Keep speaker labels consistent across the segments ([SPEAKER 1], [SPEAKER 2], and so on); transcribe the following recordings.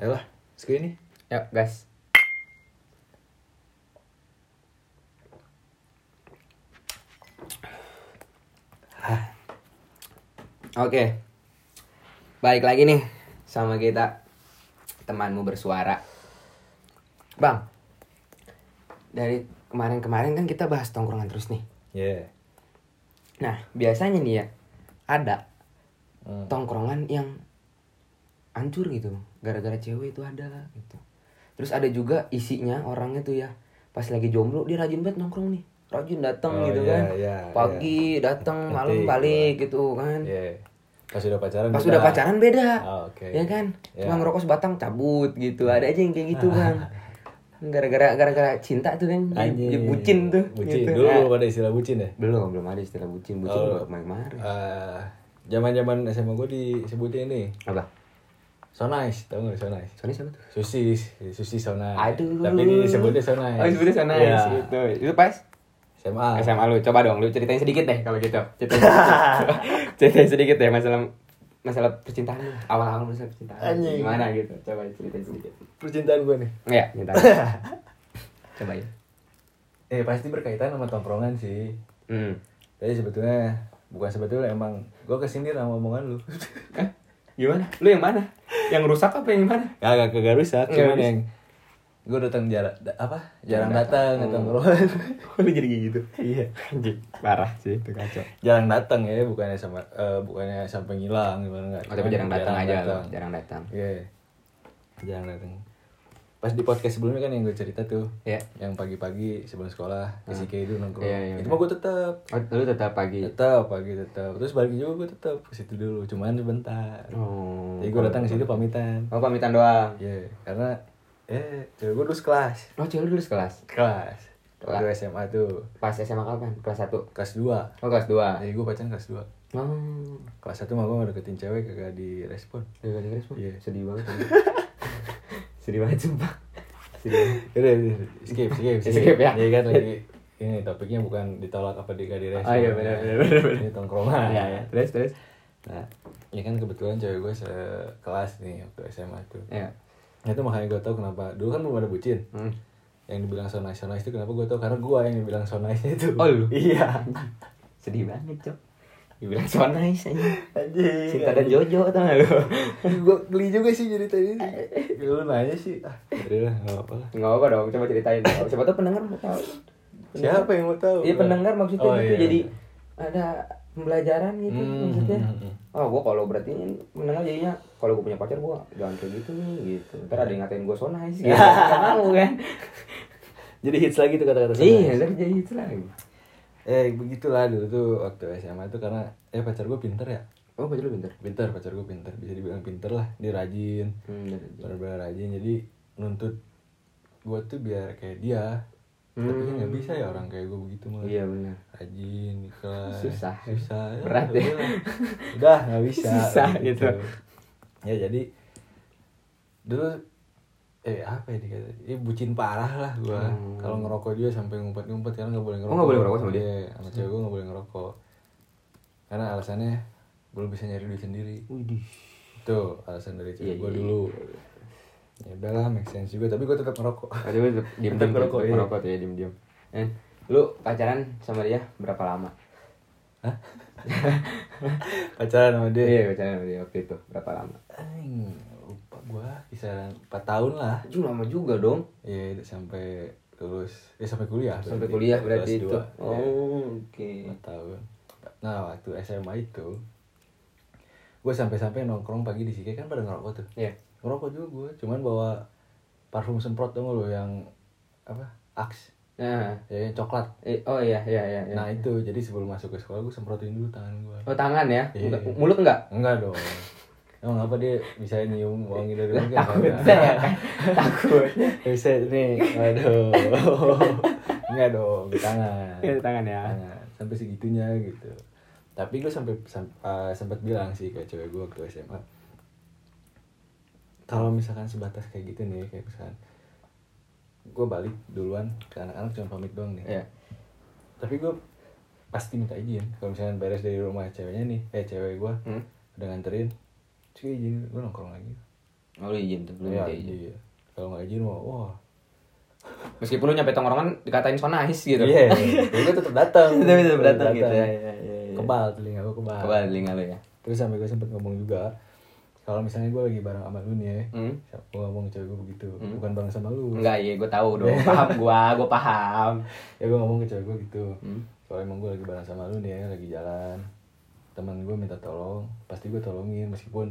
[SPEAKER 1] Ayolah, sekali ini.
[SPEAKER 2] Yuk guys. Oke. Balik lagi nih sama kita temanmu bersuara. Bang. Dari kemarin-kemarin kan kita bahas tongkrongan terus nih.
[SPEAKER 1] Ya.
[SPEAKER 2] Nah, biasanya nih ya ada
[SPEAKER 1] Hmm.
[SPEAKER 2] tongkrongan yang hancur gitu gara-gara cewek itu ada gitu terus ada juga isinya orangnya tuh ya pas lagi jomblo dia rajin banget nongkrong nih rajin datang
[SPEAKER 1] Oh,
[SPEAKER 2] gitu
[SPEAKER 1] iya,
[SPEAKER 2] kan
[SPEAKER 1] iya,
[SPEAKER 2] pagi datang
[SPEAKER 1] Ngerti
[SPEAKER 2] malam
[SPEAKER 1] gua.
[SPEAKER 2] balik gitu kan
[SPEAKER 1] Ya. Pas udah pacaran.
[SPEAKER 2] pas
[SPEAKER 1] kita-
[SPEAKER 2] udah pacaran beda
[SPEAKER 1] Ah, oke.
[SPEAKER 2] ya kan
[SPEAKER 1] Ya.
[SPEAKER 2] cuma ngerokok sebatang cabut gitu ada aja yang kayak gitu
[SPEAKER 1] Ah.
[SPEAKER 2] bang gara-gara gara-gara cinta tuh kan jadi-
[SPEAKER 1] Anjing.
[SPEAKER 2] jadi bucin tuh
[SPEAKER 1] Bucin.
[SPEAKER 2] gitu.
[SPEAKER 1] Dulu
[SPEAKER 2] Nah,
[SPEAKER 1] belum ada istilah bucin ya?
[SPEAKER 2] belum belum ada istilah bucin bucin
[SPEAKER 1] Oh.
[SPEAKER 2] baru kemarin
[SPEAKER 1] Eh, Zaman-zaman SMA gue disebutin ini.
[SPEAKER 2] apa
[SPEAKER 1] So nice, tau gak so nice?
[SPEAKER 2] soalnya siapa tuh
[SPEAKER 1] Susis, susis so nice.
[SPEAKER 2] Aduh.
[SPEAKER 1] Tapi ini disebutnya so nice.
[SPEAKER 2] Oh, disebutnya so nice
[SPEAKER 1] Iya.
[SPEAKER 2] gitu. Itu pas
[SPEAKER 1] SMA.
[SPEAKER 2] SMA lu coba dong, lu ceritain sedikit deh kalau gitu. Ceritain sedikit, ceritain sedikit deh masalah masalah percintaan lu. Awal-awal masalah percintaan.
[SPEAKER 1] Anjing.
[SPEAKER 2] Gimana gitu? Coba ceritain sedikit.
[SPEAKER 1] Percintaan gue nih.
[SPEAKER 2] Iya, minta. coba ya.
[SPEAKER 1] Eh pasti berkaitan sama tongkrongan sih.
[SPEAKER 2] Hmm.
[SPEAKER 1] Tapi sebetulnya bukan sebetulnya emang gue kesindir sama omongan lu.
[SPEAKER 2] Hah? Gimana? Lu yang mana? Yang rusak apa yang mana?
[SPEAKER 1] Kagak kagak rusak,
[SPEAKER 2] Nggak
[SPEAKER 1] cuman
[SPEAKER 2] rusak.
[SPEAKER 1] yang gue datang jarak da- apa
[SPEAKER 2] Jarang
[SPEAKER 1] jarang datang
[SPEAKER 2] datang. Hmm.
[SPEAKER 1] ke tongkrongan
[SPEAKER 2] Oh. Kok lu jadi kayak gitu?
[SPEAKER 1] iya
[SPEAKER 2] Anjing, parah sih itu kacau.
[SPEAKER 1] jarang datang ya bukannya sama eh, bukannya sampai ngilang gimana enggak
[SPEAKER 2] Oh, tapi jarang datang aja lo, jarang datang.
[SPEAKER 1] Iya. Jarang datang. Pas di podcast sebelumnya kan yang gue cerita tuh.
[SPEAKER 2] Iya.
[SPEAKER 1] Yang pagi-pagi sebelum sekolah, ke Sike itu nongkrong.
[SPEAKER 2] Iya, iya,
[SPEAKER 1] itu
[SPEAKER 2] iya.
[SPEAKER 1] mah gue tetap.
[SPEAKER 2] Oh, lu tetap pagi.
[SPEAKER 1] Tetap pagi tetap. Terus balik juga gue tetap ke situ dulu, cuman sebentar.
[SPEAKER 2] Oh.
[SPEAKER 1] Jadi gue datang ke situ pamitan.
[SPEAKER 2] Oh, pamitan doang.
[SPEAKER 1] Iya, karena eh cewek gue lulus kelas.
[SPEAKER 2] Oh, cewek lu lulus kelas.
[SPEAKER 1] Kelas.
[SPEAKER 2] Kelas.
[SPEAKER 1] Waktu SMA tuh
[SPEAKER 2] Pas SMA kapan? Kelas 1.
[SPEAKER 1] kelas 2.
[SPEAKER 2] Oh, kelas 2.
[SPEAKER 1] Jadi gue pacaran kelas 2.
[SPEAKER 2] Oh.
[SPEAKER 1] Kelas 1 mah gue deketin cewek kagak direspon.
[SPEAKER 2] Gara-gara Inggris, Bang.
[SPEAKER 1] Iya.
[SPEAKER 2] Sedih banget. Sedih banget sumpah. Sedih banget.
[SPEAKER 1] Udah, udah, udah. skip, skip, skip,
[SPEAKER 2] Skip, ya?
[SPEAKER 1] Jadi kan lagi ini topiknya bukan ditolak apa di di
[SPEAKER 2] Oh, iya, benar, benar, benar, benar.
[SPEAKER 1] Ini tongkrongan.
[SPEAKER 2] Iya, iya. Terus, terus.
[SPEAKER 1] Nah, ya kan kebetulan cewek gue sekelas nih waktu SMA tuh.
[SPEAKER 2] Ya.
[SPEAKER 1] Nah, itu makanya gue tau kenapa dulu kan belum ada bucin.
[SPEAKER 2] Hmm.
[SPEAKER 1] Yang dibilang so nice, so nice itu kenapa gue tau karena gue yang dibilang so nice itu.
[SPEAKER 2] Oh, lu?
[SPEAKER 1] Iya.
[SPEAKER 2] Sedih banget, Cok. Dibilang so nice aja.
[SPEAKER 1] Anjing.
[SPEAKER 2] Cinta dan Jojo tau gak lu?
[SPEAKER 1] gue geli juga sih cerita ini. Ya, lu nanya sih. Ah, yaudah lah, nggak apa-apa lah.
[SPEAKER 2] Enggak apa dong, coba ceritain dong. Siapa tuh pendengar mau tahu. Pendengar.
[SPEAKER 1] Siapa yang mau tahu?
[SPEAKER 2] Iya, pendengar maksudnya
[SPEAKER 1] Oh,
[SPEAKER 2] gitu.
[SPEAKER 1] iya.
[SPEAKER 2] Jadi ada pembelajaran gitu
[SPEAKER 1] Hmm,
[SPEAKER 2] maksudnya.
[SPEAKER 1] hmm, hmm.
[SPEAKER 2] Oh, gua kalau berarti mendengar jadinya kalau gua punya pacar gua jangan kayak gitu nih gitu. Ntar ada yang ngatain gua so nice gitu. Gak mau kan?
[SPEAKER 1] Jadi hits lagi tuh kata-kata so nice.
[SPEAKER 2] Iya, ntar jadi itu lagi.
[SPEAKER 1] Eh begitulah dulu tuh waktu SMA tuh karena eh pacar gue pinter ya
[SPEAKER 2] Oh, baju lu pinter.
[SPEAKER 1] Pinter pacar gue pinter bisa dibilang pinter lah Dia rajin
[SPEAKER 2] Hmm,
[SPEAKER 1] bener-bener rajin jadi nuntut gue tuh biar kayak dia
[SPEAKER 2] Hmm.
[SPEAKER 1] Tapi kan gak bisa ya orang kayak gue begitu mah
[SPEAKER 2] iya benar.
[SPEAKER 1] Rajin di kelas
[SPEAKER 2] Susah.
[SPEAKER 1] Susah Ya,
[SPEAKER 2] Berat ya.
[SPEAKER 1] udah. Udah gak bisa
[SPEAKER 2] Susah gitu.
[SPEAKER 1] Ya jadi Dulu Eh apa ya dikata Eh bucin parah lah gue
[SPEAKER 2] Hmm.
[SPEAKER 1] Kalau ngerokok juga sampai ngumpet-ngumpet Karena gak boleh ngerokok
[SPEAKER 2] nggak boleh ngerokok sama dia?
[SPEAKER 1] Iya, sama cewek gue gak boleh ngerokok Karena alasannya Belum bisa nyari duit sendiri
[SPEAKER 2] Widih.
[SPEAKER 1] Tuh alasan dari
[SPEAKER 2] Iya,
[SPEAKER 1] cewek gue
[SPEAKER 2] iya,
[SPEAKER 1] dulu Ya udahlah make sense juga Tapi gue tetap ngerokok
[SPEAKER 2] Ada gue diem
[SPEAKER 1] Tetap
[SPEAKER 2] diem
[SPEAKER 1] ngerokok,
[SPEAKER 2] ngerokok,
[SPEAKER 1] iya.
[SPEAKER 2] ngerokok tuh ya diem diem. Eh, lu pacaran sama dia berapa lama?
[SPEAKER 1] Hah? Pacaran sama dia
[SPEAKER 2] Iya pacaran sama dia waktu itu berapa lama?
[SPEAKER 1] Aing, lupa gua kisaran 4 tahun lah.
[SPEAKER 2] Cuma lama juga dong
[SPEAKER 1] Ya itu sampai lulus, eh sampai kuliah.
[SPEAKER 2] sampai
[SPEAKER 1] berarti.
[SPEAKER 2] kuliah berarti
[SPEAKER 1] Kelas
[SPEAKER 2] itu.
[SPEAKER 1] dua, ya,
[SPEAKER 2] Oh oke.
[SPEAKER 1] 4 tahun. Nah, waktu SMA itu gua sampai-sampai nongkrong pagi di Sike kan pada ngerokok tuh.
[SPEAKER 2] Iya.
[SPEAKER 1] Ngerokok juga gua, cuman bawa parfum semprot dong lo yang apa? Axe,
[SPEAKER 2] Nah,
[SPEAKER 1] ya yang coklat.
[SPEAKER 2] eh, oh iya iya iya. iya.
[SPEAKER 1] Nah, itu jadi sebelum masuk ke sekolah gua semprotin dulu tangan gua.
[SPEAKER 2] Oh tangan ya?
[SPEAKER 1] Iya.
[SPEAKER 2] Enggak- Mulut enggak?
[SPEAKER 1] Enggak dong. Emang apa dia bisa nyium wangi dari
[SPEAKER 2] Lah,
[SPEAKER 1] mulut?
[SPEAKER 2] takut
[SPEAKER 1] Enggak.
[SPEAKER 2] saya kan. Takut.
[SPEAKER 1] Bisa nih, waduh. Enggak dong, di tangan.
[SPEAKER 2] Iya, di tangan ya.
[SPEAKER 1] Tangan. Ah, Sampai segitunya gitu. Tapi gue sampai sam- eh, sempat bilang sih ke cewek gue waktu SMA. Kalau misalkan sebatas kayak gitu nih, kayak misalkan gue balik duluan ke anak-anak cuma pamit doang nih.
[SPEAKER 2] Iya.
[SPEAKER 1] Tapi gue pasti minta izin. Kalau misalkan beres dari rumah ceweknya nih, eh cewek gue
[SPEAKER 2] Hmm?
[SPEAKER 1] udah nganterin, cuy izin gue nongkrong lagi.
[SPEAKER 2] Oh lu izin tuh, lu
[SPEAKER 1] Iya,
[SPEAKER 2] minta izin.
[SPEAKER 1] iya. Kalau nggak izin mah wah.
[SPEAKER 2] Meskipun lu nyampe tongkrongan dikatain so nice gitu.
[SPEAKER 1] Iya. Tapi gue tetap datang.
[SPEAKER 2] Tapi tetap
[SPEAKER 1] Tetep
[SPEAKER 2] datang gitu. Ya, ya, ya, ya.
[SPEAKER 1] Kebal telinga gue kebal.
[SPEAKER 2] Kebal telinga lu ya.
[SPEAKER 1] Terus sampai gue sempet ngomong juga kalau misalnya gue lagi bareng sama lu nih ya,
[SPEAKER 2] Hmm.
[SPEAKER 1] gue ngomong ke cewek gue begitu, bukan bareng sama lu.
[SPEAKER 2] Enggak, iya gue tahu dong. Paham gua, gua paham.
[SPEAKER 1] ya gue ngomong ke cewek gue gitu
[SPEAKER 2] Hmm.
[SPEAKER 1] kalau emang gue lagi bareng sama lu nih ya lagi jalan teman gue minta tolong pasti gue tolongin meskipun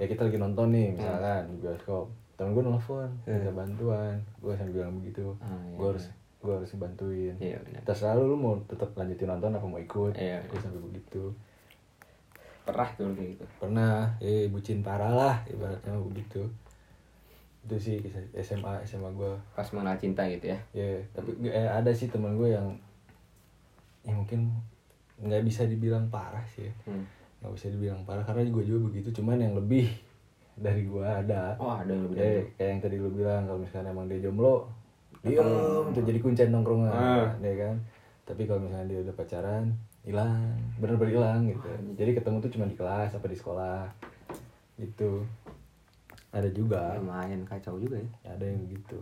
[SPEAKER 1] ya kita lagi nonton
[SPEAKER 2] Hmm.
[SPEAKER 1] nih misalkan di bioskop temen gue nelfon minta bantuan gue sambil bilang begitu
[SPEAKER 2] Ah, iya,
[SPEAKER 1] gue harus gue harus bantuin
[SPEAKER 2] Iya benar.
[SPEAKER 1] terserah lu, lu mau tetap lanjutin nonton apa mau ikut
[SPEAKER 2] Iya,
[SPEAKER 1] gue sampai begitu
[SPEAKER 2] Perah tuh lu kayak gitu.
[SPEAKER 1] pernah eh bucin parah lah ibaratnya begitu itu sih kisah SMA SMA gue
[SPEAKER 2] Pas mengenal cinta gitu ya.
[SPEAKER 1] Ya, tapi nggak- eh, ada sih teman gue yang ya mungkin nggak bisa dibilang parah sih. ya.
[SPEAKER 2] Hmm.
[SPEAKER 1] Nggak bisa dibilang parah karena gue juga begitu, cuman yang lebih dari gue ada.
[SPEAKER 2] Oh, ada yang lebih dari
[SPEAKER 1] Kayak, Iya, kayak yang tadi lu bilang kalau misalnya emang dia jomblo, diem tuh jadi kuncen nongkrongan, ya kan. Tapi kalau misalnya dia udah pacaran, hilang, bener-bener hilang gitu. Jadi ketemu tuh cuma di kelas apa di sekolah. Gitu. Ada
[SPEAKER 2] Iya.
[SPEAKER 1] juga,
[SPEAKER 2] lumayan kacau juga ya.
[SPEAKER 1] ada yang begitu.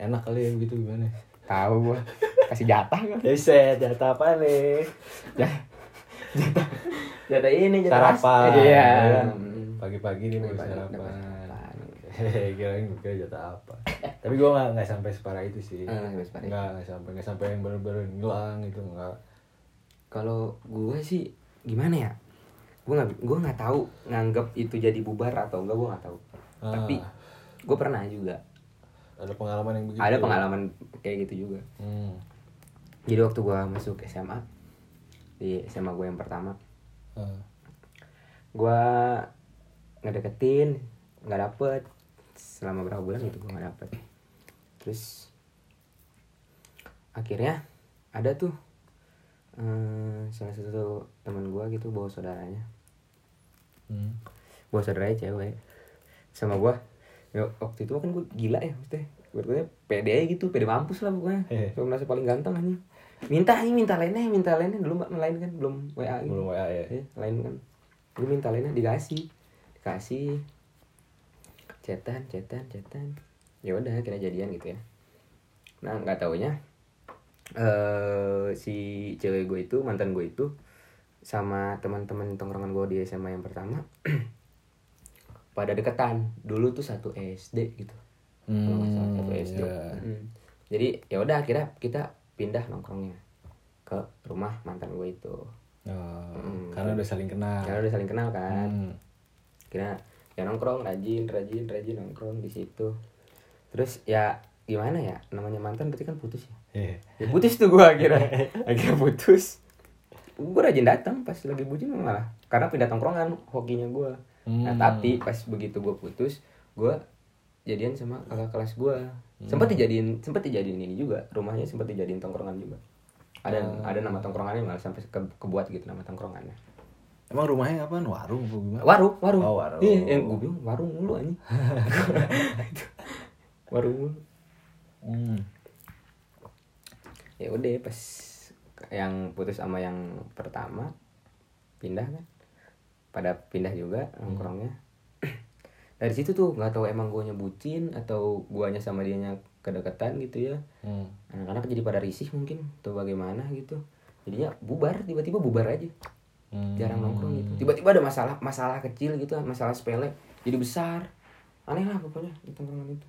[SPEAKER 1] Enak kali ya begitu gimana?
[SPEAKER 2] Tahu gua. Kasih jatah kan.
[SPEAKER 1] Buset, jatah apa nih?
[SPEAKER 2] jatah. Jatah ini jatah.
[SPEAKER 1] Sarapan.
[SPEAKER 2] Iya.
[SPEAKER 1] Hmm. Pagi-pagi nih baru
[SPEAKER 2] Pagi-pagi dapat
[SPEAKER 1] sarapan.
[SPEAKER 2] sarapan.
[SPEAKER 1] Hehehe, kirain kira jatah apa. Tapi gua nggak nggak sampai separah itu sih.
[SPEAKER 2] Eh, sampai separah
[SPEAKER 1] Nggak nggak sampai nggak sampai yang bener-bener hilang gitu nggak.
[SPEAKER 2] Kalau gua sih gimana ya? Gua nggak gua nggak tahu nganggap itu jadi bubar atau enggak gua nggak tahu.
[SPEAKER 1] Ah.
[SPEAKER 2] Tapi gua pernah juga.
[SPEAKER 1] Ada pengalaman yang begitu. ya?
[SPEAKER 2] Ada pengalaman kayak gitu juga.
[SPEAKER 1] Hmm.
[SPEAKER 2] Jadi waktu gua masuk SMA di SMA gua yang pertama,
[SPEAKER 1] Ah.
[SPEAKER 2] gua ngedeketin nggak dapet selama berapa bulan gitu gua nggak dapet. Terus akhirnya ada tuh eh, salah satu teman gua gitu bawa saudaranya
[SPEAKER 1] Hmm.
[SPEAKER 2] bawa saudaranya cewek sama gua ya, waktu itu kan gua gila ya maksudnya Gua pede aja gitu pede mampus lah pokoknya
[SPEAKER 1] Hehe.
[SPEAKER 2] Gua merasa paling ganteng aja minta aja minta lainnya minta lainnya dulu mbak lain kan belum wa gitu.
[SPEAKER 1] Belum WA ya.
[SPEAKER 2] Eh, lain kan gue minta lainnya dikasih dikasih cetan cetan cetan ya udah akhirnya jadian gitu ya nah nggak taunya eh si cewek gue itu mantan gue itu sama teman-teman tongkrongan gue di SMA yang pertama pada deketan dulu tuh satu SD gitu kalau nggak salah satu SD
[SPEAKER 1] Hmm, iya.
[SPEAKER 2] Mm. jadi ya udah akhirnya kita pindah nongkrongnya ke rumah mantan gue itu
[SPEAKER 1] Oh,
[SPEAKER 2] Hmm.
[SPEAKER 1] Karena udah saling kenal.
[SPEAKER 2] karena udah saling kenal kan
[SPEAKER 1] Hmm.
[SPEAKER 2] kira ya nongkrong rajin rajin rajin nongkrong di situ terus ya gimana ya namanya mantan berarti kan putus ya
[SPEAKER 1] Hehe.
[SPEAKER 2] ya putus tuh gua akhirnya akhirnya putus gua rajin datang pas lagi bucin malah karena pindah tongkrongan hokinya gua nah
[SPEAKER 1] Hmm.
[SPEAKER 2] tapi pas begitu gua putus gua jadian sama kakak kelas gua sempet dijadiin sempet dijadiin ini juga rumahnya sempet dijadiin tongkrongan juga ada ada nama tongkrongannya malah sampai ke, kebuat gitu nama tongkrongannya
[SPEAKER 1] Emang rumahnya apaan? Warung apa gimana?
[SPEAKER 2] warung warung
[SPEAKER 1] Oh, warung.
[SPEAKER 2] iya yang gue bilang warung mulu anjing warung mulu
[SPEAKER 1] Hmm.
[SPEAKER 2] ya udah pas yang putus sama yang pertama pindah kan pada pindah juga nongkrongnya dari situ tuh nggak tahu emang guanya bucin atau guanya sama dianya kedekatan gitu ya
[SPEAKER 1] Hmm.
[SPEAKER 2] anak-anak jadi pada risih mungkin atau bagaimana gitu jadinya bubar tiba-tiba bubar aja
[SPEAKER 1] Hmm.
[SPEAKER 2] jarang nongkrong gitu tiba-tiba ada masalah masalah kecil gitu masalah sepele jadi besar aneh lah pokoknya di tongkrongan itu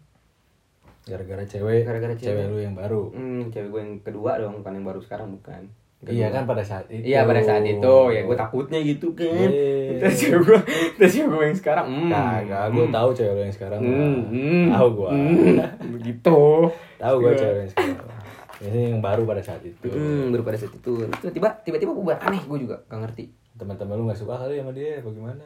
[SPEAKER 1] Gara-gara cewek.
[SPEAKER 2] Gara-gara cewek.
[SPEAKER 1] Cewek lu yang baru.
[SPEAKER 2] hmm, cewek gue yang kedua dong bukan yang baru sekarang bukan Kedua.
[SPEAKER 1] Iya kan pada saat itu.
[SPEAKER 2] iya pada saat itu ya gue takutnya gitu kan
[SPEAKER 1] Iya.
[SPEAKER 2] terus cewek gue terus cewek gue yang sekarang hmm
[SPEAKER 1] Kagak, gue tahu cewek lo yang sekarang.
[SPEAKER 2] hmm, hmm,
[SPEAKER 1] Tahu gue.
[SPEAKER 2] hmm, begitu
[SPEAKER 1] Tahu
[SPEAKER 2] Iya.
[SPEAKER 1] gue cewek lo yang sekarang. Ini yang baru pada saat itu.
[SPEAKER 2] hmm baru pada saat itu tiba-tiba tiba-tiba bubar aneh gue juga gak ngerti
[SPEAKER 1] Teman-teman lu gak suka kali sama dia, bagaimana?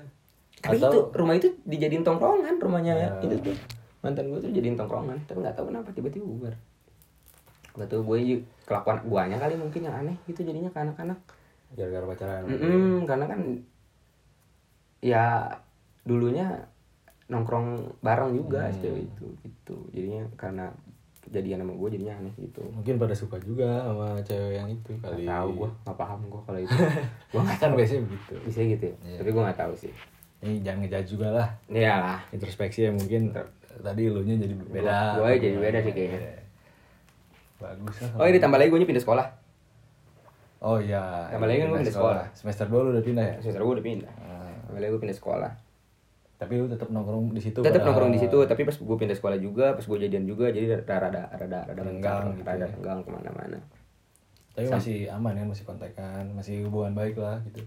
[SPEAKER 2] Tapi itu rumah itu dijadiin tongkrongan rumahnya
[SPEAKER 1] Ya.
[SPEAKER 2] itu tuh. Mantan gue tuh jadiin tongkrongan, tapi nggak tahu kenapa tiba-tiba bubar. Gak tau gue ju- kelakuan guanya kali mungkin yang aneh gitu jadinya ke anak-anak.
[SPEAKER 1] gara-gara pacaran?
[SPEAKER 2] Mm-mm, karena kan ya dulunya nongkrong bareng juga si cewek itu gitu. Jadinya karena kejadian sama gue jadinya aneh gitu.
[SPEAKER 1] Mungkin pada suka juga sama cewek yang itu
[SPEAKER 2] Gak
[SPEAKER 1] kali.
[SPEAKER 2] tahu gue, gak paham gue kalau itu.
[SPEAKER 1] Gua kan biasanya begitu.
[SPEAKER 2] Bisa gitu ya. Tapi gue nggak tahu sih.
[SPEAKER 1] ini jangan ngejudge juga lah
[SPEAKER 2] Iyalah.
[SPEAKER 1] introspeksi ya mungkin tadi elunya jadi beda
[SPEAKER 2] Gua- gua jadi beda sih kayaknya.
[SPEAKER 1] Iya. bagus lah
[SPEAKER 2] Oh ini tambah lagi gue pindah sekolah.
[SPEAKER 1] oh iya
[SPEAKER 2] Tambah lagi kan gua
[SPEAKER 1] Pindah
[SPEAKER 2] pindah sekolah.
[SPEAKER 1] semester dua lu udah pindah ya
[SPEAKER 2] Semester gue udah pindah.
[SPEAKER 1] Ah.
[SPEAKER 2] Tambah lagi gue pindah sekolah.
[SPEAKER 1] tapi lu tetap nongkrong di situ
[SPEAKER 2] Tetap
[SPEAKER 1] padahal.
[SPEAKER 2] nongkrong di situ, tapi pas gue pindah sekolah juga, pas gue jadian juga, jadi rada rada rada rada
[SPEAKER 1] Renggang
[SPEAKER 2] mencar,
[SPEAKER 1] gitu
[SPEAKER 2] rada
[SPEAKER 1] ya.
[SPEAKER 2] renggang kemana-mana.
[SPEAKER 1] tapi masih aman kan masih kontekan masih hubungan baik lah gitu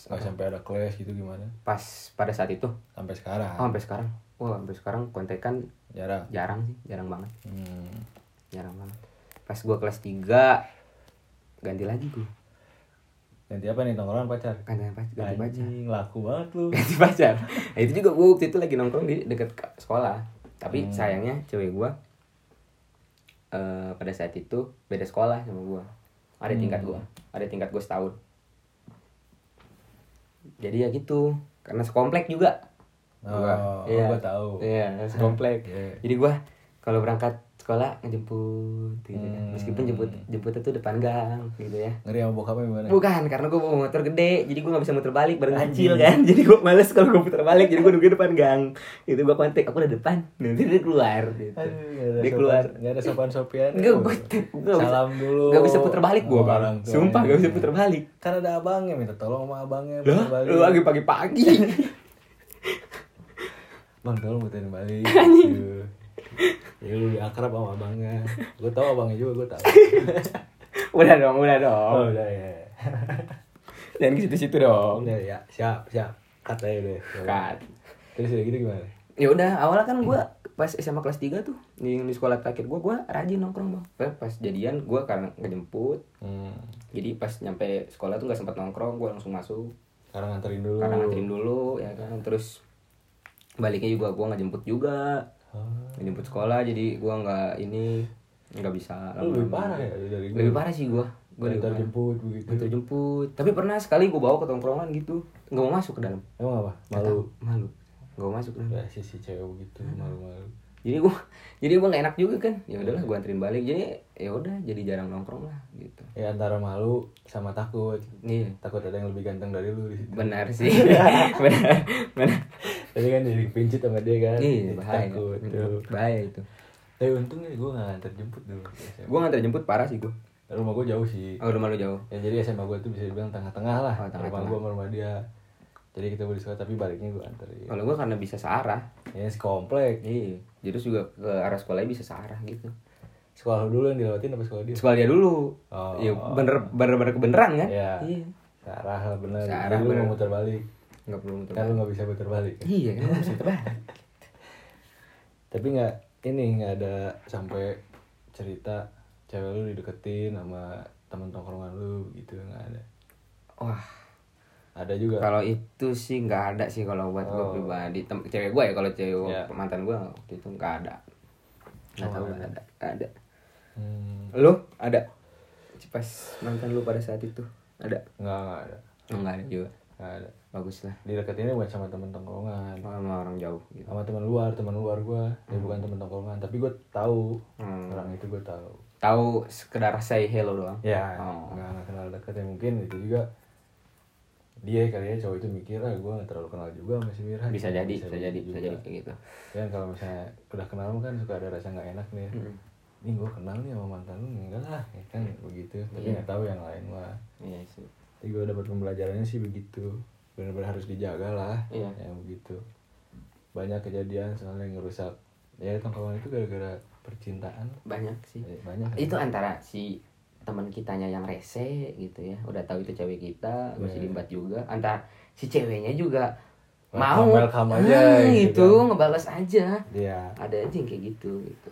[SPEAKER 1] nggak sampai ada clash gitu gimana
[SPEAKER 2] Pas pada saat itu, oh,
[SPEAKER 1] sampai sekarang
[SPEAKER 2] sampai sekarang, wah sampai sekarang kontekan
[SPEAKER 1] jarang
[SPEAKER 2] jarang sih, jarang banget,
[SPEAKER 1] hmm.
[SPEAKER 2] jarang banget. Pas gue kelas 3 ganti lagi gue,
[SPEAKER 1] ganti apa nih nongkrongan pacar
[SPEAKER 2] ganti pacar, ganti pacar,
[SPEAKER 1] Anjing, laku banget lu
[SPEAKER 2] ganti pacar. Nah, itu juga gue waktu itu lagi nongkrong di deket ke- sekolah, tapi
[SPEAKER 1] Hmm.
[SPEAKER 2] sayangnya cewek gue eh pada saat itu beda sekolah sama gue, ada
[SPEAKER 1] Hmm.
[SPEAKER 2] tingkat gue, ada tingkat gue setahun. Jadi ya gitu, karena sekomplek juga.
[SPEAKER 1] oh,
[SPEAKER 2] Iya.
[SPEAKER 1] gua tahu
[SPEAKER 2] Iya, sekomplek.
[SPEAKER 1] Iya.
[SPEAKER 2] Jadi gua kalau berangkat sekolah ngejemput gitu kan.
[SPEAKER 1] Hmm.
[SPEAKER 2] Meskipun jemput jemputnya tuh depan gang gitu ya.
[SPEAKER 1] ngeri sama bokapnya gimana
[SPEAKER 2] Bukan, karena gue bawa motor gede, jadi gue gak bisa muter balik bareng kecil kan Jadi gue males kalau gue puter balik, jadi gue nunggu depan gang Itu gue kontak, aku udah depan, nanti dia keluar gitu
[SPEAKER 1] iya,
[SPEAKER 2] Dia keluar
[SPEAKER 1] Gak ada sopan sopian
[SPEAKER 2] Gak, gue, gue
[SPEAKER 1] iya. Salam dulu
[SPEAKER 2] Gak bisa puter balik gue,
[SPEAKER 1] sama orang
[SPEAKER 2] Bang
[SPEAKER 1] tuanya.
[SPEAKER 2] Sumpah, gak bisa puter balik
[SPEAKER 1] Kan ada abangnya minta tolong sama abangnya puter
[SPEAKER 2] Lah,
[SPEAKER 1] balik.
[SPEAKER 2] lu lagi pagi-pagi
[SPEAKER 1] Bang tolong puterin balik Gitu. Ya lu lebih akrab sama abangnya Gue tau abangnya juga gue tau
[SPEAKER 2] Udah dong, udah dong
[SPEAKER 1] Oh udah
[SPEAKER 2] iya.
[SPEAKER 1] ya
[SPEAKER 2] Jangan ke situ-situ dong
[SPEAKER 1] Udah ya siap siap Cut aja deh
[SPEAKER 2] Cut.
[SPEAKER 1] Terus udah gitu gimana?
[SPEAKER 2] ya udah awalnya kan gue pas SMA kelas 3 tuh di, di sekolah terakhir gue gue rajin nongkrong bang Pas- pas jadian gue karena ngejemput
[SPEAKER 1] Hmm.
[SPEAKER 2] jadi pas nyampe sekolah tuh nggak sempat nongkrong gue langsung masuk
[SPEAKER 1] Karena nganterin dulu
[SPEAKER 2] karena nganterin dulu ya kan terus baliknya juga gue nggak jemput juga
[SPEAKER 1] Oh.
[SPEAKER 2] ngejemput sekolah jadi gue nggak ini nggak bisa
[SPEAKER 1] Lu lebih
[SPEAKER 2] lama-lama.
[SPEAKER 1] parah ya dari gue
[SPEAKER 2] lebih parah sih gue gue lebih
[SPEAKER 1] Nganter
[SPEAKER 2] parah
[SPEAKER 1] jemput gitu. begitu
[SPEAKER 2] Nganter jemput tapi pernah sekali gue bawa ke tongkrongan gitu nggak mau masuk ke dalam
[SPEAKER 1] Emang apa? Malu
[SPEAKER 2] malu nggak mau masuk ke dalam
[SPEAKER 1] Ya sih si cewek begitu malu-malu
[SPEAKER 2] jadi gua jadi gua nggak enak juga kan ya udahlah gua anterin balik jadi ya udah jadi jarang nongkrong lah gitu
[SPEAKER 1] Ya antara malu sama takut
[SPEAKER 2] nih
[SPEAKER 1] Takut ada yang lebih ganteng dari lu di situ.
[SPEAKER 2] benar sih benar benar
[SPEAKER 1] Tadi kan jadi pincit sama dia kan.
[SPEAKER 2] iya
[SPEAKER 1] Jadi
[SPEAKER 2] bahaya
[SPEAKER 1] Takut tuh.
[SPEAKER 2] bahaya itu
[SPEAKER 1] Tapi untungnya gue gak nganter jemput dulu.
[SPEAKER 2] gua nganter jemput parah sih gua
[SPEAKER 1] Rumah gue jauh sih.
[SPEAKER 2] oh, rumah lu jauh
[SPEAKER 1] Ya jadi SMA gue tuh bisa dibilang tengah-tengah lah.
[SPEAKER 2] Oh, tengah-tengah.
[SPEAKER 1] Rumah gue sama rumah dia. Jadi kita boleh sekolah tapi baliknya gue anterin.
[SPEAKER 2] kalau gua karena bisa searah
[SPEAKER 1] Ya sekomplek.
[SPEAKER 2] iya jadi terus juga ke arah sekolahnya bisa searah gitu
[SPEAKER 1] Sekolah lu dulu yang dilewatin apa sekolah dia?
[SPEAKER 2] sekolah dia dulu
[SPEAKER 1] Oh.
[SPEAKER 2] ya bener bener bener kebeneran kan
[SPEAKER 1] Iya.
[SPEAKER 2] iya
[SPEAKER 1] Searah lah bener.
[SPEAKER 2] Searah,
[SPEAKER 1] Jadi lu
[SPEAKER 2] bener.
[SPEAKER 1] mau muter balik.
[SPEAKER 2] nggak perlu muter
[SPEAKER 1] Kan lu gak bisa muter balik.
[SPEAKER 2] balik. iya kan harus muter balik
[SPEAKER 1] Tapi gak ini gak ada sampai cerita cewek lu dideketin sama temen tongkrongan lu gitu nggak ada
[SPEAKER 2] wah
[SPEAKER 1] ada juga
[SPEAKER 2] Kalau itu sih nggak ada sih kalau buat gue pribadi. Tem cewek gue ya kalau cewek
[SPEAKER 1] Iya.
[SPEAKER 2] mantan gue waktu itu nggak ada. Nggak tahu nggak Oh, ada. Nggak ada.
[SPEAKER 1] Hmm,
[SPEAKER 2] Lu ada? Pas mantan lu pada saat itu ada?
[SPEAKER 1] nggak nggak ada
[SPEAKER 2] Nggak ada juga.
[SPEAKER 1] nggak ada
[SPEAKER 2] Bagus lah.
[SPEAKER 1] dideketinnya bukan sama temen tongkrongan
[SPEAKER 2] Sama orang jauh gitu.
[SPEAKER 1] sama teman luar teman luar gue ya bukan temen tongkrongan tapi gue tahu
[SPEAKER 2] Hmm.
[SPEAKER 1] orang itu gue tahu
[SPEAKER 2] Tahu sekedar say hello doang.
[SPEAKER 1] ya
[SPEAKER 2] Oh.
[SPEAKER 1] nggak nggak kenal deket ya mungkin itu juga dia kali ya cowok itu mikir ah gue nggak terlalu kenal juga sama si Mirha
[SPEAKER 2] Bisa jadi, bisa, jadi,
[SPEAKER 1] juga.
[SPEAKER 2] bisa jadi kayak gitu.
[SPEAKER 1] dan Kan kalau misalnya udah kenal mah kan suka ada rasa nggak enak nih
[SPEAKER 2] Mm.
[SPEAKER 1] ini gue kenal nih sama mantan lu enggak lah ya kan begitu tapi
[SPEAKER 2] Iya.
[SPEAKER 1] nggak tahu yang lain mah
[SPEAKER 2] Iya sih.
[SPEAKER 1] tapi gue dapat pembelajarannya sih begitu benar-benar harus dijaga lah
[SPEAKER 2] Iya.
[SPEAKER 1] yang begitu banyak kejadian soalnya yang ngerusak ya tongkrongan itu gara-gara percintaan
[SPEAKER 2] Banyak sih.
[SPEAKER 1] Eh, banyak ya.
[SPEAKER 2] itu antara si teman kitanya yang rese gitu ya udah tahu itu cewek kita masih
[SPEAKER 1] Iya.
[SPEAKER 2] diembat juga antara si ceweknya juga mau
[SPEAKER 1] Welcome, welcome aja
[SPEAKER 2] Ah,
[SPEAKER 1] gitu
[SPEAKER 2] gitu
[SPEAKER 1] kan.
[SPEAKER 2] ngebalas aja
[SPEAKER 1] ya
[SPEAKER 2] ada aja yang kayak gitu gitu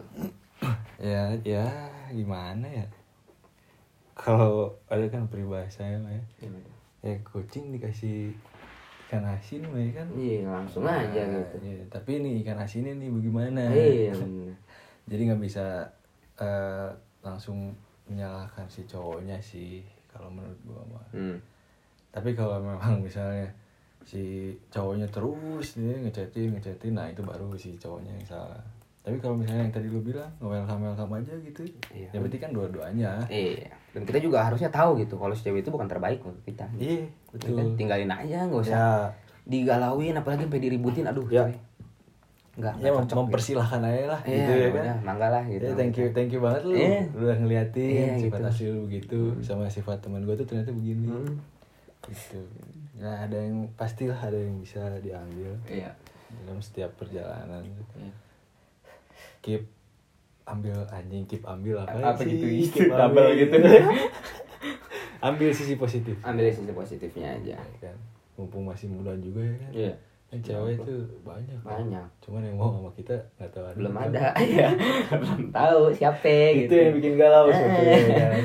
[SPEAKER 1] ya ya gimana ya kalau ada kan peribahasa ya Maya. ya kucing dikasih ikan asin mah ya kan
[SPEAKER 2] iya langsung
[SPEAKER 1] Nah,
[SPEAKER 2] aja gitu
[SPEAKER 1] iya, tapi ini ikan asinnya nih bagaimana
[SPEAKER 2] iya bener.
[SPEAKER 1] jadi nggak bisa eh, langsung menyalahkan si cowoknya sih kalau menurut gua mah
[SPEAKER 2] hmm.
[SPEAKER 1] tapi kalau memang misalnya si cowoknya terus dia ngechatin ngechatin nah itu baru si cowoknya yang salah tapi kalau misalnya yang tadi lu bilang welcome welcome aja gitu
[SPEAKER 2] Iya.
[SPEAKER 1] ya berarti kan dua-duanya
[SPEAKER 2] iya dan kita juga harusnya tahu gitu kalau si cewek itu bukan terbaik untuk kita
[SPEAKER 1] iya
[SPEAKER 2] Ya kan?
[SPEAKER 1] betul
[SPEAKER 2] tinggalin aja nggak usah
[SPEAKER 1] ya
[SPEAKER 2] digalauin apalagi sampai diributin aduh
[SPEAKER 1] Ya.
[SPEAKER 2] coy. nggak
[SPEAKER 1] ya
[SPEAKER 2] nggak
[SPEAKER 1] mem-
[SPEAKER 2] cocok
[SPEAKER 1] mempersilahkan aja lah
[SPEAKER 2] Iya,
[SPEAKER 1] gitu ya kan
[SPEAKER 2] udah, mangga lah gitu
[SPEAKER 1] Ya, thank you thank you banget lu
[SPEAKER 2] Iya.
[SPEAKER 1] lu udah ngeliatin
[SPEAKER 2] Iya,
[SPEAKER 1] sifat
[SPEAKER 2] gitu.
[SPEAKER 1] asli lu begitu sama sifat teman gue tuh ternyata begini
[SPEAKER 2] Hmm.
[SPEAKER 1] gitu nah ada yang pastilah ada yang bisa diambil
[SPEAKER 2] iya
[SPEAKER 1] dalam setiap perjalanan
[SPEAKER 2] Iya.
[SPEAKER 1] keep ambil anjing keep ambil apa,
[SPEAKER 2] Apa
[SPEAKER 1] sih?
[SPEAKER 2] gitu,
[SPEAKER 1] keep
[SPEAKER 2] keep double
[SPEAKER 1] ambil.
[SPEAKER 2] gitu.
[SPEAKER 1] ambil sisi positif
[SPEAKER 2] ambil sisi positifnya aja
[SPEAKER 1] ya kan mumpung masih muda juga ya kan
[SPEAKER 2] Iya.
[SPEAKER 1] Kan cewek itu banyak kan?
[SPEAKER 2] Banyak.
[SPEAKER 1] cuman yang mau sama kita nggak tahu ada
[SPEAKER 2] belum
[SPEAKER 1] nggak
[SPEAKER 2] ada ya belum tahu siapa gitu
[SPEAKER 1] Gitu. itu yang bikin galau
[SPEAKER 2] Eh.
[SPEAKER 1] sebetulnya kan.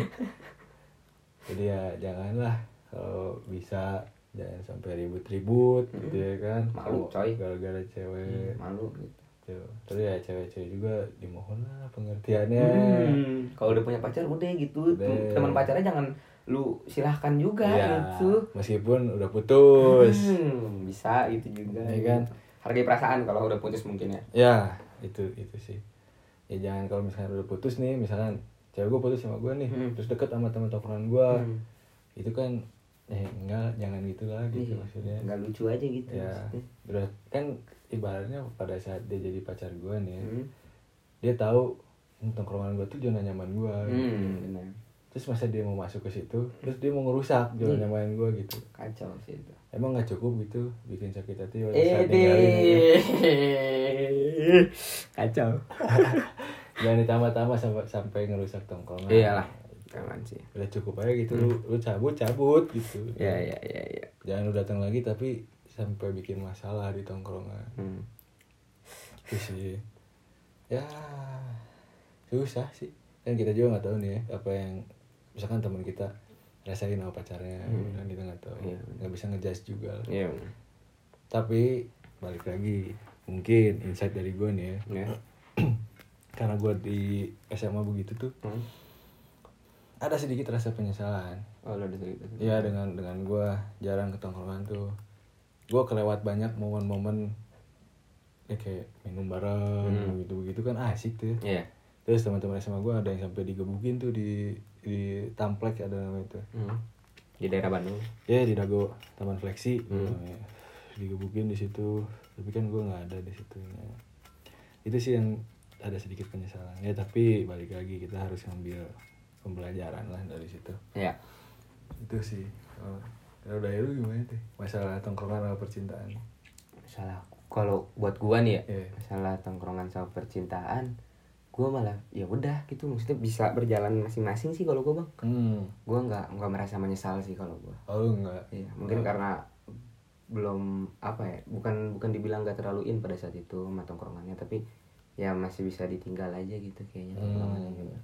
[SPEAKER 1] jadi ya janganlah kalau bisa jangan sampai ribut-ribut gitu ya kan
[SPEAKER 2] Malu,
[SPEAKER 1] Kalau
[SPEAKER 2] coy.
[SPEAKER 1] gara-gara cewek
[SPEAKER 2] malu gitu
[SPEAKER 1] gitu. tapi ya cewek-cewek juga dimohon lah pengertiannya
[SPEAKER 2] Hmm, kalau udah punya pacar udah gitu
[SPEAKER 1] Ya. Udah.
[SPEAKER 2] teman pacarnya jangan lu silahkan juga
[SPEAKER 1] ya
[SPEAKER 2] gitu
[SPEAKER 1] meskipun udah putus
[SPEAKER 2] Hmm, bisa gitu juga
[SPEAKER 1] Iya kan?
[SPEAKER 2] hargai perasaan kalau udah putus mungkin ya
[SPEAKER 1] ya itu itu sih ya jangan kalau misalkan udah putus nih misalkan cewek gue putus sama gue nih
[SPEAKER 2] Hmm.
[SPEAKER 1] terus deket sama teman tongkrongan gue
[SPEAKER 2] Hmm.
[SPEAKER 1] itu kan eh enggak jangan gitu lah gitu
[SPEAKER 2] Iya,
[SPEAKER 1] maksudnya
[SPEAKER 2] nggak lucu aja gitu
[SPEAKER 1] ya
[SPEAKER 2] maksudnya.
[SPEAKER 1] udah kan ibaratnya pada saat dia jadi pacar gue nih
[SPEAKER 2] Hmm.
[SPEAKER 1] dia tahu "Hmm, tongkrongan gue tuh zona nyaman gue
[SPEAKER 2] Hmm, benar.
[SPEAKER 1] terus masa dia mau masuk ke situ terus dia mau ngerusak zona
[SPEAKER 2] Hmm.
[SPEAKER 1] nyaman gue gitu
[SPEAKER 2] kacau sih itu
[SPEAKER 1] emang nggak cukup gitu bikin sakit hati pada
[SPEAKER 2] eh
[SPEAKER 1] saat ninggalin gitu.
[SPEAKER 2] deh. kacau
[SPEAKER 1] jangan ditambah-tambah sampai sampai ngerusak tongkrongan
[SPEAKER 2] Iya iyalah jangan sih
[SPEAKER 1] udah cukup aja gitu lu
[SPEAKER 2] Hmm.
[SPEAKER 1] lu cabut cabut gitu
[SPEAKER 2] ya ya ya ya
[SPEAKER 1] jangan lu datang lagi tapi sampai bikin masalah di tongkrongan
[SPEAKER 2] hmm.
[SPEAKER 1] itu Iya sih ya susah sih kan kita juga nggak tahu nih ya apa yang misalkan teman kita rasain sama pacarnya kan kita nggak tahu
[SPEAKER 2] Iya,
[SPEAKER 1] nggak bisa ngejudge juga lah.
[SPEAKER 2] Iya.
[SPEAKER 1] tapi balik lagi mungkin insight dari gue nih ya
[SPEAKER 2] Ya.
[SPEAKER 1] karena gue di SMA begitu tuh
[SPEAKER 2] Hmm.
[SPEAKER 1] ada sedikit rasa penyesalan
[SPEAKER 2] Oh, lo udah cerita.
[SPEAKER 1] Iya dengan dengan gue jarang ke tongkrongan tuh gue kelewat banyak momen-momen ya kayak minum
[SPEAKER 2] Hmm.
[SPEAKER 1] bareng gitu begitu kan asik tuh ya.
[SPEAKER 2] Iya.
[SPEAKER 1] terus teman-teman SMA gue ada yang sampai digebukin tuh di di tamplek ada namanya itu
[SPEAKER 2] Hmm. Di daerah Bandung.
[SPEAKER 1] ya di dago taman fleksi gitu namanya. digebukin di situ tapi kan gue nggak ada di situ ya. itu sih yang ada sedikit penyesalan ya tapi balik lagi kita harus ngambil pembelajaran lah dari situ
[SPEAKER 2] Iya.
[SPEAKER 1] itu sih kalau kalau dari lu gimana tuh masalah tongkrongan atau percintaan
[SPEAKER 2] Masalah kalau buat gua nih ya,
[SPEAKER 1] Iya.
[SPEAKER 2] masalah tongkrongan sama percintaan, gua malah ya udah gitu maksudnya bisa berjalan masing-masing sih kalau gua, Bang.
[SPEAKER 1] hmm
[SPEAKER 2] Gua nggak nggak merasa menyesal sih kalau gua.
[SPEAKER 1] oh lu enggak
[SPEAKER 2] Iya, mungkin karena belum apa ya, bukan bukan dibilang nggak terlalu in pada saat itu sama tongkrongannya, tapi ya masih bisa ditinggal aja gitu kayaknya
[SPEAKER 1] Hmm.
[SPEAKER 2] tongkrongannya juga.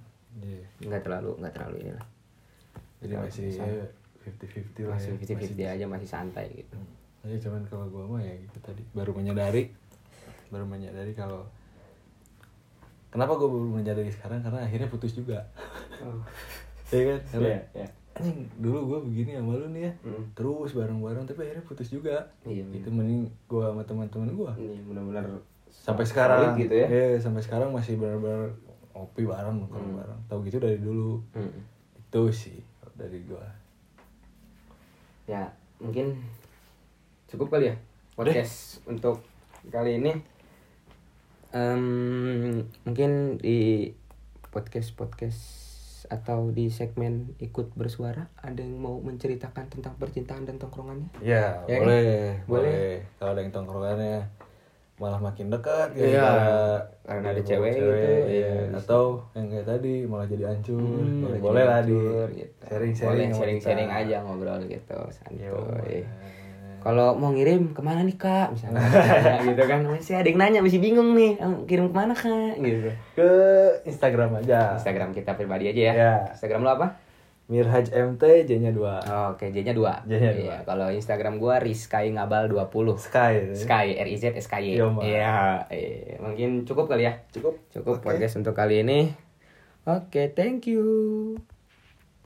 [SPEAKER 1] Iya.
[SPEAKER 2] Nggak terlalu nggak terlalu inilah.
[SPEAKER 1] jadi
[SPEAKER 2] Nggak
[SPEAKER 1] masih
[SPEAKER 2] bisa.
[SPEAKER 1] fifty fifty lah
[SPEAKER 2] Masih 50-50
[SPEAKER 1] ya.
[SPEAKER 2] aja masih santai gitu.
[SPEAKER 1] Iya, cuman kalau gua mah ya gitu tadi baru menyadari baru menyadari kalau kenapa gua baru menyadari sekarang karena akhirnya putus juga Iya kan karena
[SPEAKER 2] Iya, iya.
[SPEAKER 1] anjing dulu gua begini sama lu nih ya
[SPEAKER 2] Mm.
[SPEAKER 1] terus bareng bareng tapi akhirnya putus juga
[SPEAKER 2] Iya,
[SPEAKER 1] itu mending gua sama teman-teman gua
[SPEAKER 2] Ini benar-benar
[SPEAKER 1] sampai
[SPEAKER 2] Mm.
[SPEAKER 1] sekarang
[SPEAKER 2] gitu ya.
[SPEAKER 1] Iya, sampai sekarang masih benar-benar ngopi bareng kalau bareng tahu gitu dari dulu
[SPEAKER 2] Mm.
[SPEAKER 1] itu sih kalau dari gua
[SPEAKER 2] Ya, mungkin cukup kali ya podcast untuk kali ini. Em, mungkin di podcast podcast atau di segmen ikut bersuara ada yang mau menceritakan tentang percintaan dan tongkrongannya?
[SPEAKER 1] ya,
[SPEAKER 2] Ya,
[SPEAKER 1] boleh, boleh
[SPEAKER 2] kan? Boleh.
[SPEAKER 1] kalau ada yang tongkrongannya malah makin dekat gitu.
[SPEAKER 2] Iya,
[SPEAKER 1] gara-gara-
[SPEAKER 2] karena
[SPEAKER 1] gara-gara
[SPEAKER 2] ada cewek gitu,
[SPEAKER 1] iya.
[SPEAKER 2] iya.
[SPEAKER 1] atau yang kayak tadi malah jadi hancur
[SPEAKER 2] Hmm, ada
[SPEAKER 1] Ya, boleh
[SPEAKER 2] juga
[SPEAKER 1] lah di
[SPEAKER 2] hancur, gitu. Boleh,
[SPEAKER 1] sharing sharing sama
[SPEAKER 2] sharing
[SPEAKER 1] kita.
[SPEAKER 2] sharing aja ngobrol gitu
[SPEAKER 1] Yo,
[SPEAKER 2] santuy kalau mau ngirim kemana nih kak misalnya gitu kan masih ada yang nanya masih bingung nih "Em, kirim kemana kak gitu
[SPEAKER 1] ke Instagram aja
[SPEAKER 2] Instagram kita pribadi aja ya
[SPEAKER 1] Iya.
[SPEAKER 2] Instagram lo apa
[SPEAKER 1] Mirhaj MT J nya 2
[SPEAKER 2] Oh, Oke, J-nya 2.
[SPEAKER 1] J-nya dua.
[SPEAKER 2] kalau Instagram gua Rizky Ngabal 20.
[SPEAKER 1] Sky
[SPEAKER 2] Sky R I Z S K Y.
[SPEAKER 1] Yo, Ma.
[SPEAKER 2] Iya, eh, mungkin cukup kali ya.
[SPEAKER 1] cukup
[SPEAKER 2] Cukup
[SPEAKER 1] Oke.
[SPEAKER 2] podcast untuk kali ini. Oke, thank you.